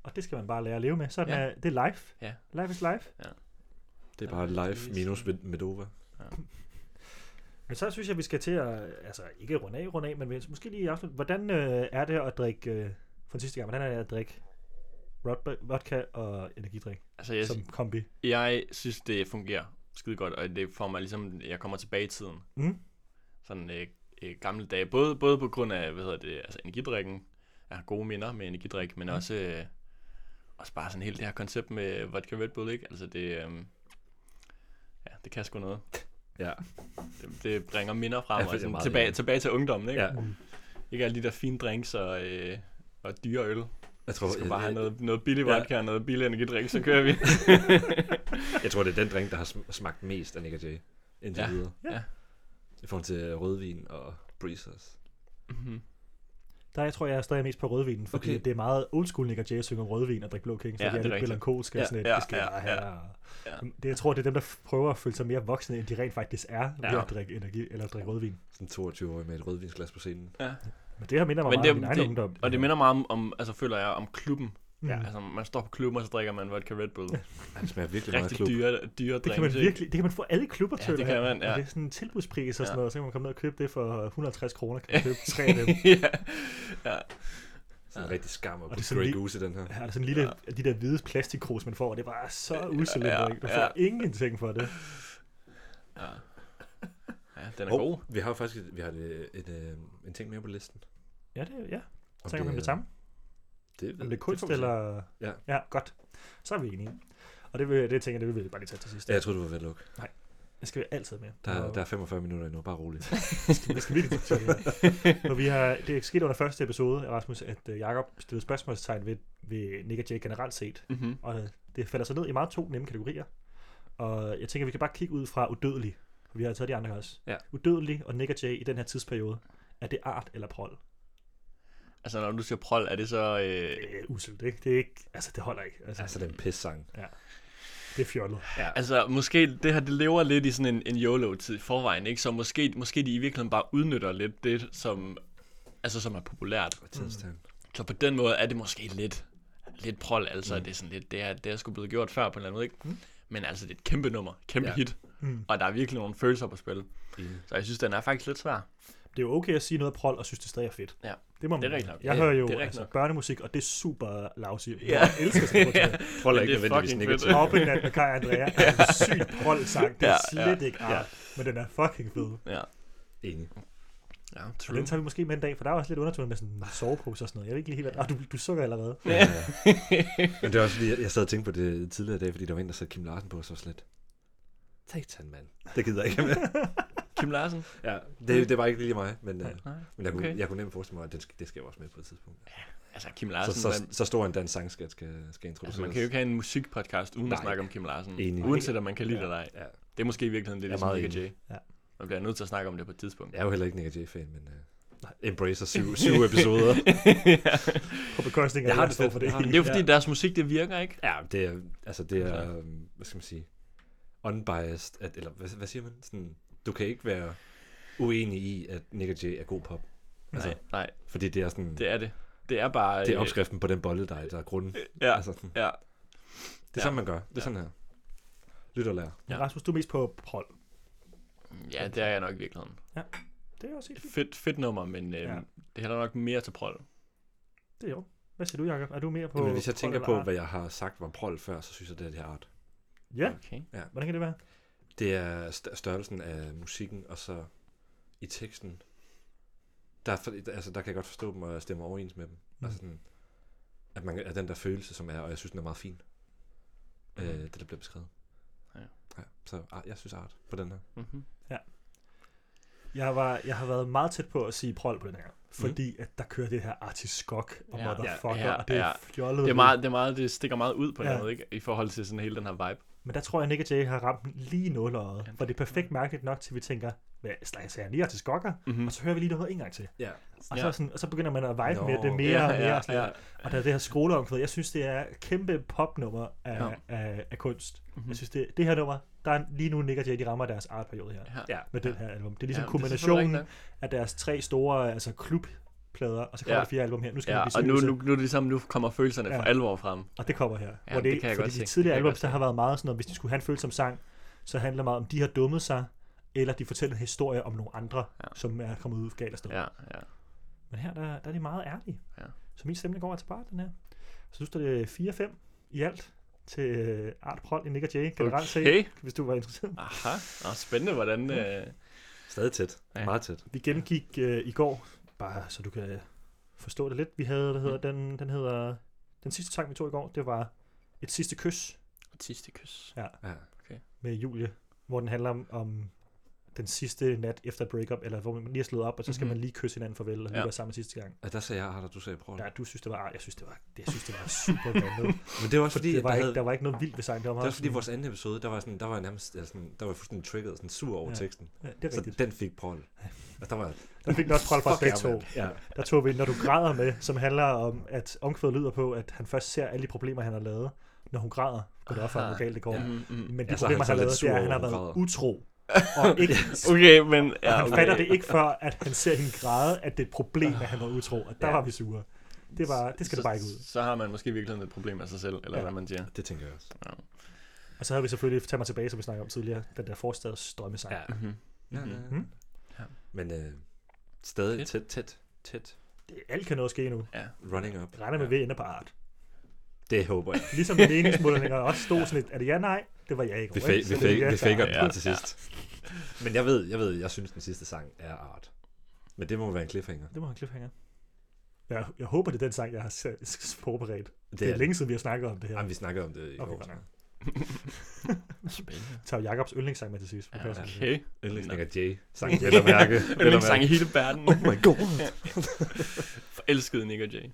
Og det skal man bare lære at leve med. Sådan
Ja.
er, det er life.
Ja.
Life is life.
det er bare live minus med- Medova.
Men så synes jeg, vi skal til at, altså ikke runde af, runde af, men vi- måske lige afslutte. Hvordan øh, er det at drikke, øh, for den sidste gang, hvordan er det at drikke rot- vodka og energidrik
Altså, jeg,
som kombi?
jeg synes, det fungerer skide godt, og det får mig ligesom, jeg kommer tilbage i tiden.
Mm.
Sådan øh, øh, gamle dage. Både, både på grund af, hvad hedder det, altså energidrikken. Jeg har gode minder med energidrik, men også, øh, også bare sådan helt det her koncept med vodka Red Bull, ikke? Altså, det, øh, det kan sgu noget.
Ja.
Det, det bringer minder
Ja,
frem, ja,
det er
og sådan,
meget
tilbage,
enig.
tilbage til ungdommen, ikke?
ja.
Ja. Ikke alle de der fine drinks og, øh, og dyre øl.
Jeg, tror,
Vi skal bare
jeg,
have
jeg,
noget, noget billig
øh, Ja.
vodka og noget billig energidrik, så
[LAUGHS]
kører vi.
jeg tror, det er den drink, der har sm- smagt mest af Nick og Jay indtil
Ja.
videre.
Ja.
I forhold til øh, rødvin og breezers.
Mhm.
Der jeg tror jeg stadig mest på rødvinen, fordi
Okay.
okay. det er meget old school Nick og Jay at synge om rødvin og drikke blå kings,
Ja,
ja, fordi
det er
jeg er lidt
rigtigt.
melankolsk og
Ja,
sådan lidt,
ja,
ja, det skal
ja,
ja, jeg
ja.
have. Ja,
Ja.
Det, jeg tror, det er dem, der f- prøver at føle sig mere voksne, end de rent faktisk er, ved
Ja.
at drikke energi eller at drikke rødvin.
Sådan 22 år med et rødvinsglas på scenen.
ja.
Men det her minder mig
Men
meget
det-
om min egen
det-
ungdom. Mm.
Og det minder meget om, om, altså føler jeg, om klubben.
Ja.
Ja. Altså, man står på klubben, og så drikker man vodka Red Bull.
Ej, Det smager virkelig meget af
Rigtig
klub.
dyre, dyre
Det kan man
drinks, ikke?
virkelig, det kan man få alle i klubber
Ja,
til.
det kan man, ja.
Og det er sådan en tilbudspris og
Ja.
sådan noget, så kan man komme ned og købe det for 150 kroner, kan man købe tre af dem.
[LAUGHS] ja. ja.
Sådan rigtig skam og
det er sådan
Grey
lige-
Goose i den her.
Ja, der er sådan en lille, ja. de der hvide plastikkrus, man får, og det er bare så uselt.
ja,
Ja, du får
ja.
ja. ingenting for det.
ja. Ja, den er
Hov,
god.
Vi har jo faktisk et, vi har et, et, øh, en ting mere på listen.
Ja, det, ja.
Om
Tænker man
er-
det samme?
Det,
Om det er
får vi
kunst
se.
eller...
Ja.
ja, godt. Så er vi enige. Og det, vil, det tænker jeg, det vil vi bare lige tage til sidst.
Ja, jeg troede, du var ved at lukke.
Det skal vi altid med.
Der, er-
Og-
der er 45 minutter endnu, bare
[LAUGHS]
roligt.
Vi skal virkelig diskutere det
[LAUGHS]
her. Og vi har, det skete under første episode, Rasmus, at øh, Jakob stillede spørgsmålstegn ved, ved Nick og Jay generelt set.
Mhm.
Mm-hmm.
Og øh, det falder så ned i meget to nemme kategorier. Og jeg tænker, vi kan bare kigge ud fra udødelig. For Vi har taget de andre også.
Ja.
Udødelig og Nick og Jay i den her tidsperiode. Er det art eller prol?
Altså, når du siger prol, er det så... Øh,
Det er uselt, ikke? Det er ikke... Altså, det holder ikke. Altså,
altså, den pissang.
det er fjollet.
altså, måske det her, det lever lidt i sådan en, en YOLO-tid i forvejen, ikke? Så måske, måske de i virkeligheden bare udnytter lidt det, som, altså, som er populært.
Tidstand.
Så på den måde er det måske lidt, lidt prol, altså. Mm. Det er sådan lidt, det er, det er sgu blevet gjort før på en eller anden måde, ikke? Mm. Men altså, det er et kæmpe nummer, kæmpe
Ja. Mm.
ja. hit.
Mm.
Mm. Og der er virkelig nogle følelser på spil.
Enig.
Så jeg synes, den er faktisk lidt svær.
Det er jo okay at sige noget prol, og synes, det stadig er fedt.
Ja.
Det må man.
Det er rigtigt nok.
Jeg
Ja,
hører jo
det er rigtigt
altså,
nok.
børnemusik, og det er super lousy. Ja.
[LAUGHS] Ja.
Jeg elsker sådan noget.
Prøv
Men
ikke
det er
nødvendigvis
fucking [LAUGHS]
negativt.
fedt.
Hoppinat med Kai og Andrea er en sygt prol sang. Det er
Ja, ja,
slet ikke art, men den er fucking fed.
Ja,
Enig.
ja
Og
true.
den tager vi måske med en dag, for der er også lidt undertoner med sådan sovepose og sådan noget. Jeg ved ikke lige helt, hvad- ah, du, du sukker allerede.
Ja. [LAUGHS] Men det er også fordi, jeg- jeg sad og tænkte på det tidligere i dag, fordi der var en, der satte Kim Larsen på, og så var jeg slet. Satan, mand. Det gider jeg ikke
[LAUGHS]
med.
[LAUGHS] Kim Larsen?
ja, det, det var ikke lige mig, men, øh,
Nej.
men jeg, kunne,
Okay.
jeg kunne nemt forestille mig, at den skal, det skal jeg også med på et tidspunkt.
Altså, Kim
Så,
Larsen,
så,
man,
så stor en dansk sangskat skal, skal introduceres.
altså, man kan jo ikke have en musikpodcast uden Nej.
Nej.
at snakke om Kim Larsen.
Enig.
Uanset om man kan lide det eller ej.
Ja.
Det er måske i virkeligheden
Jeg
lidt
er
ligesom
meget
Nick Jay.
Ja.
Man bliver nødt til at snakke om det på et tidspunkt.
Jeg er jo heller ikke Nick Jay-fan, men uh, Embracer syv, syv
[LAUGHS]
episoder.
På bekostning af
Jeg
det,
har
jeg
det
står
fedt.
for det.
Jeg har
Men det er jo fordi, ja. deres musik, det virker, ikke?
ja, det er, altså det er, um, hvad skal man sige, unbiased, at, eller hvad, hvad siger man? Sådan, du kan ikke være uenig i, at Nick Jay er god pop. Altså,
Nej, nej,
Fordi det er sådan, det
det er det. Det er bare...
er, det er opskriften på den bolle, der er, der er grunden.
Øh, Ja,
Altså, sådan,
ja.
det er sådan, man gør. Det er sådan her. Lyt og lær.
Men Rasmus, du er mest på prol.
ja, det er jeg nok i virkeligheden.
Det er også helt fint.
Fedt, fedt nummer, men øh,
Ja.
ja. det hælder nok mere til prol.
Det er jo. Hvad siger du, Jacob? Er du mere på
Jamen, hvis jeg
prol
tænker
eller
på,
art?
hvad jeg har sagt var prol før, så synes jeg, det er det her art.
Ja,
Okay.
hvordan kan det være?
Det er st- størrelsen af musikken, og så i teksten, der, er for, altså, der kan jeg godt forstå dem og stemme overens med dem. Mm. Altså sådan, at man er den der følelse, som er, og jeg synes, den er meget fin. Mm. Øh, det, der bliver beskrevet.
Ja.
ja så ah, jeg synes art på den her.
Mm-hmm.
Jeg, var, jeg har været meget tæt på at sige prol på den her. Fordi at der kører det her artiskok og
Mhm. Ja,
motherfucker,
ja, ja,
og det er
ja.
fjollet.
Det, er meget, det, er meget, det stikker meget ud på ja.
Ja.
noget, ikke? I forhold til sådan hele den her vibe.
Men der tror jeg, Nick Jay har ramt den lige i nåløjet.
Ja,
For det er perfekt markedet nok til, at vi tænker, hvad slags er han lige artiskokker?
Mm-hmm.
Og så hører vi lige noget en gang til.
Ja.
Og,
Ja.
så, sådan, og så begynder man at vibe
Nå.
med det mere
Ja,
og mere.
ja,
og sådan
ja.
noget. Og der er det her skoleomkvæd. Jeg synes, det er et kæmpe popnummer af,
Ja.
ja. af, af kunst.
Mhm.
Mm-hmm. Jeg synes, det, det her nummer, der er lige nu Nick og Jay, de rammer deres artperiode her.
Ja.
Ja.
Med den her album. Det er ligesom ja,
men det er selvfølgelig
kombinationen
rigtigt
af deres tre store altså klubplader, og så kommer
Ja.
ja. der fire album her. Nu skal
Ja,
ja,
og nu,
blive
nu, nu, er det sammen, nu kommer følelserne ja.
Ja.
for alvor frem.
Og det kommer her. Ja,
men
hvor det,
det kan jeg
fordi
godt
de
se. Det kan
tidligere
jeg
album,
godt
der
se.
har været meget sådan noget, hvis de skulle have en følsom sang, så handler det meget om, de har dummet sig, eller de fortæller en historie om nogle andre,
Ja.
ja. som er kommet ud galt af sted. Ja.
Ja, ja.
Men her der, der er de meget ærlige.
Ja.
Så min stemning går altså bare den her. Så nu står det 4-5 i alt til øh, Art Prol i Nick og Jay generelt set, Mm.
Okay.
hvis du var interesseret.
Aha. Nå, spændende, hvordan... Øh,
Stadig tæt.
Ja.
Ja. Meget tæt.
Vi gennemgik øh, i går, bare så du kan øh, forstå det lidt. Vi havde, hvad hedder
Mm.
den, den hedder, den sidste sang vi tog i går, det var Et sidste kys
Artistikys.
Ja.
med Julie hvor den handler om, om den sidste nat efter et breakup, eller hvor man lige har slået op, og så skal
Mhm.
mm-hmm. man lige kysse hinanden farvel, og lige
Ja.
være sammen sidste gang.
Og der sagde jeg, Arthur, du sagde Paul.
Ja, du synes, det var, ej, jeg synes, det var, det, jeg synes, det var super vandet.
Men det var også [LAUGHS] fordi,
Fordi det var
der,
ikke,
havde,
der var ikke noget vildt ved sangen. Det var,
det var
meget
også fordi,
sådan-
vores anden episode, der var, sådan, der var jeg nærmest eller sådan, der var jeg fuldstændig triggered, sådan sur over
Ja.
teksten.
Ja, det er
Så
rigtigt.
den fik Paul. Og der var
Der fik den også trold fra os
Fuck
begge
jer,
to.
mand. Ja.
Der tog vi, når du græder med, som handler om, at omkvædet lyder på, at han først ser alle de problemer, han har lavet, når hun græder, går det op for, ham, hvor galt det går.
Ja.
Mm-hmm.
Men de
Ja, så er
problemer,
han så
han har
lidt
lavet, det
sur
er, at han
over,
har været
hun græder. [LAUGHS]
utro. Og ikke,
Okay, men... Ja,
han
okay.
fatter det ikke før, at han ser hende græde, at det er et problem, at han var utro. Og der
Ja.
var vi sure. Det, var, det skal
så,
det bare ikke ud.
Så har man måske i virkeligheden et problem af sig selv, eller
Ja.
ja. hvad man siger.
Det tænker jeg også.
Og så havde vi selvfølgelig, tag mig tilbage, som vi snakkede om tidligere, den der forstads drømmesang.
Ja.
Mm-hmm.
Ja,
Mhm.
ja,
Mhm.
ja.
Ja.
Men øh, stadig
Fedt.
tæt, tæt, tæt.
Det- Alt kan nå at ske nu.
Ja.
Running up.
Jeg regner med, at vi ender på art.
Det håber
[LAUGHS]
jeg. [LAUGHS]
Ligesom meningsmålinger også stod sådan lidt, er det ja, nej? Det var jeg ikke.
Vi,
over, ikke?
fa- vi,
Så det er
fa-
ja,
vi faker
tak.
den bare til sidst. Men jeg ved, jeg ved, jeg synes, den sidste sang er art. Men det må være en cliffhanger.
Det må han cliffhanger. Jeg, jeg håber, det er den sang, jeg har selv- s- forberedt.
Det,
Det er længe siden, vi har snakket om det her.
Jamen, vi snakkede om det i okay,
Okay,
går.
godt nok.
Spændende.
Jeg tager Jacobs yndlingssang med til sidst.
Ja,
Ja, okay.
okay.
Yndlingssang af Jay. Sang vel at mærke.
[LAUGHS] Den
Vel at
ikke sang i
mærke.
hele
[LAUGHS]
verden.
Oh my god.
Forelskede Nick og Jay.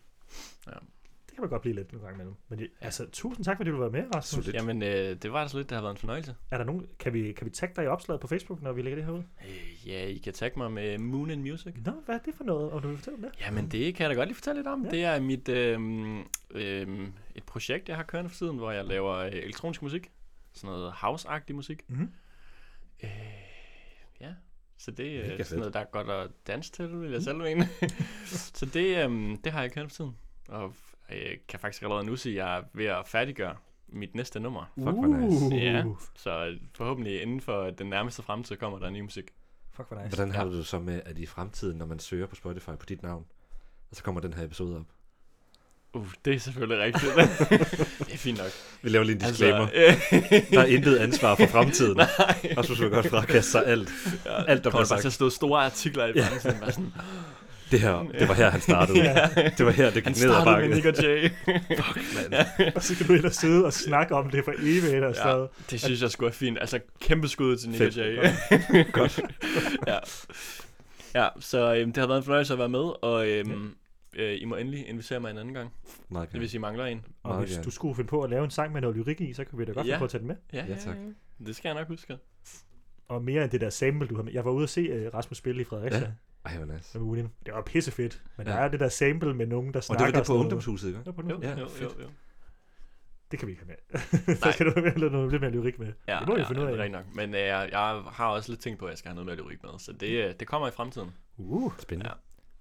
Det kan man godt blive lidt nogle gange imellem. Men jeg- altså, tusind tak, fordi du var med, Rasmus.
Solidt.
Jamen, øh, det var altså lidt, det har været en fornøjelse.
Er der nogen, kan vi, kan vi tagge dig i opslaget på Facebook, når vi lægger det her ud?
Øh, ja, I kan tagge mig med Moon and Music.
Nå, hvad er det for noget? Og du vil fortælle om det?
Jamen, det kan jeg da godt lige fortælle lidt om.
Mm. Ja.
Ja. Det er mit, øhm, øhm, et projekt, jeg har kørende for tiden, hvor jeg laver øh, elektronisk musik. Sådan noget house-agtig musik.
Mm.
Mhm.
Øh, ja, så det
Mega
er øh,
fedt. Mm.
sådan noget, der er godt at danse til, vil jeg selv mene. [LAUGHS] så det, øhm, det har jeg kørende for tiden. Og øh, kan faktisk allerede nu sige, at jeg er ved at færdiggøre mit næste nummer.
Fuck, hvor nice.
Uh.
Ja. Så øh, forhåbentlig inden for den nærmeste fremtid kommer der ny musik.
Fuck, hvor nice.
Hvordan har du det så med, at i fremtiden, når man søger på Spotify på dit navn, og så kommer den her episode op?
Uh, det er selvfølgelig
[LAUGHS]
rigtigt. det er fint nok.
Vi laver lige en disclaimer. Altså,
Altså,
[LAUGHS] der er intet ansvar for fremtiden.
[LAUGHS] Nej.
Rasmus vil godt frakaste sig alt.
Ja,
Alt, der
kommer
bliver
der til at
sagt.
stå store artikler i
Ja.
branchen. bare sådan, "Mm."
Det her, det var her, han startede.
[LAUGHS] Ja.
Det var her, det
Han
gik ned ad
startede
bakken.
med Nick og Jay.
[LAUGHS]
[LAUGHS]
Og så kan du ind og sidde og snakke om det for evigt eller
ja,
sådan
det synes jeg skulle være fint. Altså, kæmpe skud til Nick og
Fedt.
Jay.
[LAUGHS] Godt.
[LAUGHS] ja. ja, så øhm, det har været en fornøjelse at være med, og øhm, øh, I må endelig invitere mig en anden gang,
Meget
ja.
gerne.
hvis I mangler en.
Og
Meget
hvis
gerne.
du skulle finde på at lave en sang med noget lyrik i, så kan vi da godt
Ja.
finde på at tage den med.
Ja,
Ja, tak.
Det skal jeg nok huske.
Og mere end det der sample, du har med. Jeg var ude at se uh, Rasmus spille i Fredericia.
Ja. Ej, hvor nice.
med Munin. Det var pissefedt, men
Ja.
der er det der sample med nogen, der
Og
snakker.
det var det
og
på
sådan noget.
ungdomshuset, ikke?
Det var på
Jo,
ungdomshuset.
Ja,
ja, jo, jo,
fedt.
jo.
Det kan vi ikke have med. [LAUGHS] der skal du have med noget lidt mere lyrik med.
Ja,
det må vi
ja,
finde ud
det er
af.
rigtigt nok. Men øh, jeg har også lidt tænkt på, at jeg skal have noget med lyrik med, så det, øh, det kommer i fremtiden.
Uh,
Spændende.
Ja.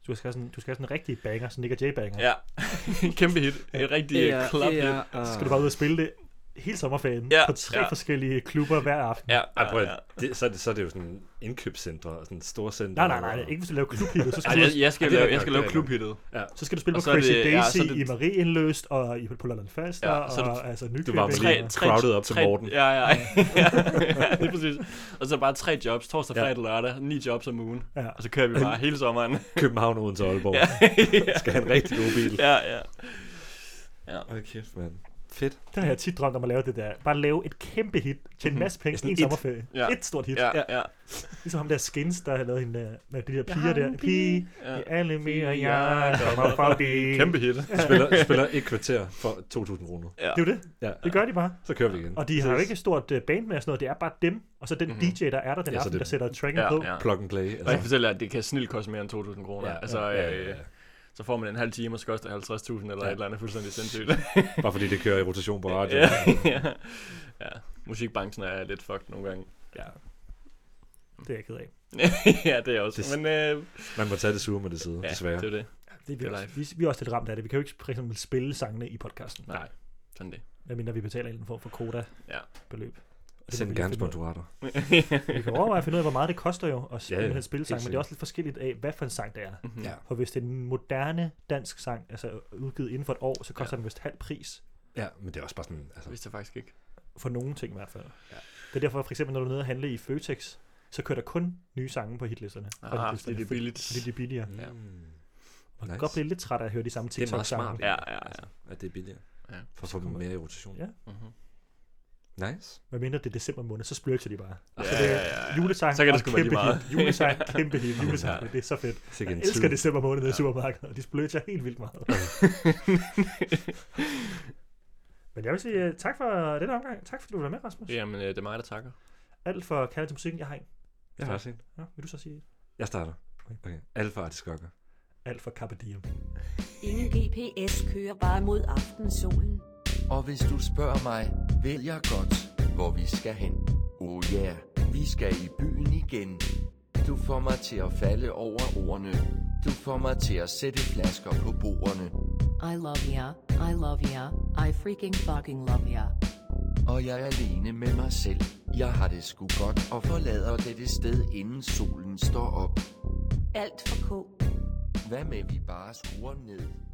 du skal have sådan, du skal have sådan en rigtig banger, sådan Nick og J-banger.
Ja, [LAUGHS] kæmpe hit. Et rigtig yeah, klap hit.
Så er skal du bare ud og spille det hele sommerferien
Ja,
på tre
ja.
forskellige klubber hver aften.
Ja,
Ej, prøv, at-
ja.
det, så, er det, så er det jo sådan indkøbscentre og sådan store center.
Nej, nej, nej, ikke hvis du laver klubhittet, så
Ej,
skal du,
jeg, jeg skal,
Ej, det er
lave,
rigtig
jeg skal
nok,
lave
det er
klubhittet.
så skal du spille
og
på
så er
Crazy
det- ja,
Daisy
så er det-
i Marienløst og i, på Lolland Falster
Ja, så er det-
og altså
Du var med
Nykøbing.
tre-
og-
crowded op til Morten.
Ja,
[LAUGHS]
ja, ja. ja det er præcis. Og så er der bare tre jobs, torsdag, fredag, lørdag, ni jobs om ugen.
Ja.
Og så kører vi
[LAUGHS]
bare hele sommeren.
København, Odense og Aalborg.
ja, ja.
Skal have en rigtig god bil.
ja, ja.
Hold kæft, mand. Fedt.
Der har jeg tit drømt om at lave det der. Bare lave et kæmpe hit til en masse penge
Sådan
i en
et-
sommerferie.
Mhm. Ja.
Et stort hit.
Ja, ja,
Ligesom ham der Skins, der har lavet hende øh, med de der piger
har
der.
en
Pige,
ja.
i alle mere jeg kommer forbi.
Kæmpe hit.
Spiller, spiller et kvarter for 2.000 kroner.
Ja.
Det er jo det.
Ja,
Det gør de bare.
så kører vi igen.
Og de har jo ikke et stort øh, band med og sådan noget. Det er bare dem, og så den
Mhm.
DJ, der er der den
Ja, så
aften,
det-
der sætter tracken
Ja,
på.
ja.
Plug and play. altså.
Og jeg kan fortælle jer, at det kan snilt koste mere end 2.000 kroner.
Ja,
altså,
ja, ja, ja.
Øh, så får man en halv time, og så koster det 50.000 eller
Ja.
et eller andet fuldstændig sindssygt.
[LAUGHS] Bare fordi det kører i rotation på radio.
ja, ja. ja. Musikbranchen er lidt fucked nogle gange.
Ja. Det er jeg ked af.
[LAUGHS] ja, det er jeg også.
Det-
Men øh,
Man må tage det sure med det side,
ja,
desværre.
det er det.
Det er vi,
Det er
også, vi, vi er også lidt ramt af det. Vi kan jo ikke for eksempel spille sangene i podcasten,
Nej, sådan det.
medmindre vi betaler en eller anden form for
Ja.
quota-beløb. Og det må
Send
vi lige
gerne
finde ud af.
sponsorater.
Vi [LAUGHS] kan overveje at finde ud af, hvor meget det koster jo at spille
Ja, ja.
ja, ja. spille sang,
Helt
men det er også lidt forskelligt af, hvad for en sang det er.
Mhm.
Ja.
For hvis det er en moderne dansk sang, altså udgivet inden for et år, så koster ja. den vist halv pris
Ja, men det er også bare sådan... Altså,
Det vidste jeg faktisk ikke.
for nogle ting i hvert fald. Ja. Det er derfor, for eksempel, når du er nede og handle i Føtex, så kører der kun nye sange på hitlisterne. fra
Ah,
hitlisterne,
fordi det er billigt.
Fordi det er billigere.
mm,
Ja.
Man kan
Nice.
godt blive lidt træt af at høre de samme
Det er meget
TikTok-sange.
smart.
Ja, ja, ja.
At det er billigere.
Ja.
For at få
kommer-
mere i rotation.
Ja.
Mhm.
Nice.
Hvad mindre det er december måned, så splurger de bare.
Ja,
Så det er
ja, ja.
julesang,
Så kan det
og
sgu være lige
kæmpe
meget.
hit.
[LAUGHS]
[LAUGHS] Julesang, kæmpe hit, julesang.
Ja.
Det er så fedt.
Sikke
Jeg
en
elsker
tid.
december måned i supermarkedet, og de splurger helt vildt meget. Men jeg vil sige øh, tak for den omgang. Tak fordi du var med, Rasmus.
Jamen, øh, det er mig, der takker.
Alt for kærlighed til musikken, jeg har en.
Jeg har også en.
Ja, vil du så sige
Jeg starter. Okay. Alfa Artiskokker.
alt for Carpe Diem?
Ingen GPS kører bare mod aftensolen.
Og hvis du spørger mig, ved jeg godt, hvor vi skal hen. Oh ja, yeah, vi skal i byen igen. Du får mig til at falde over ordene. Du får mig til at sætte flasker på bordene.
I love ya, I love ya, I freaking fucking love ya.
Og jeg er alene med mig selv. Jeg har det sgu godt og forlader dette sted, inden solen står op.
Alt for K.
Hvad med vi bare skruer ned?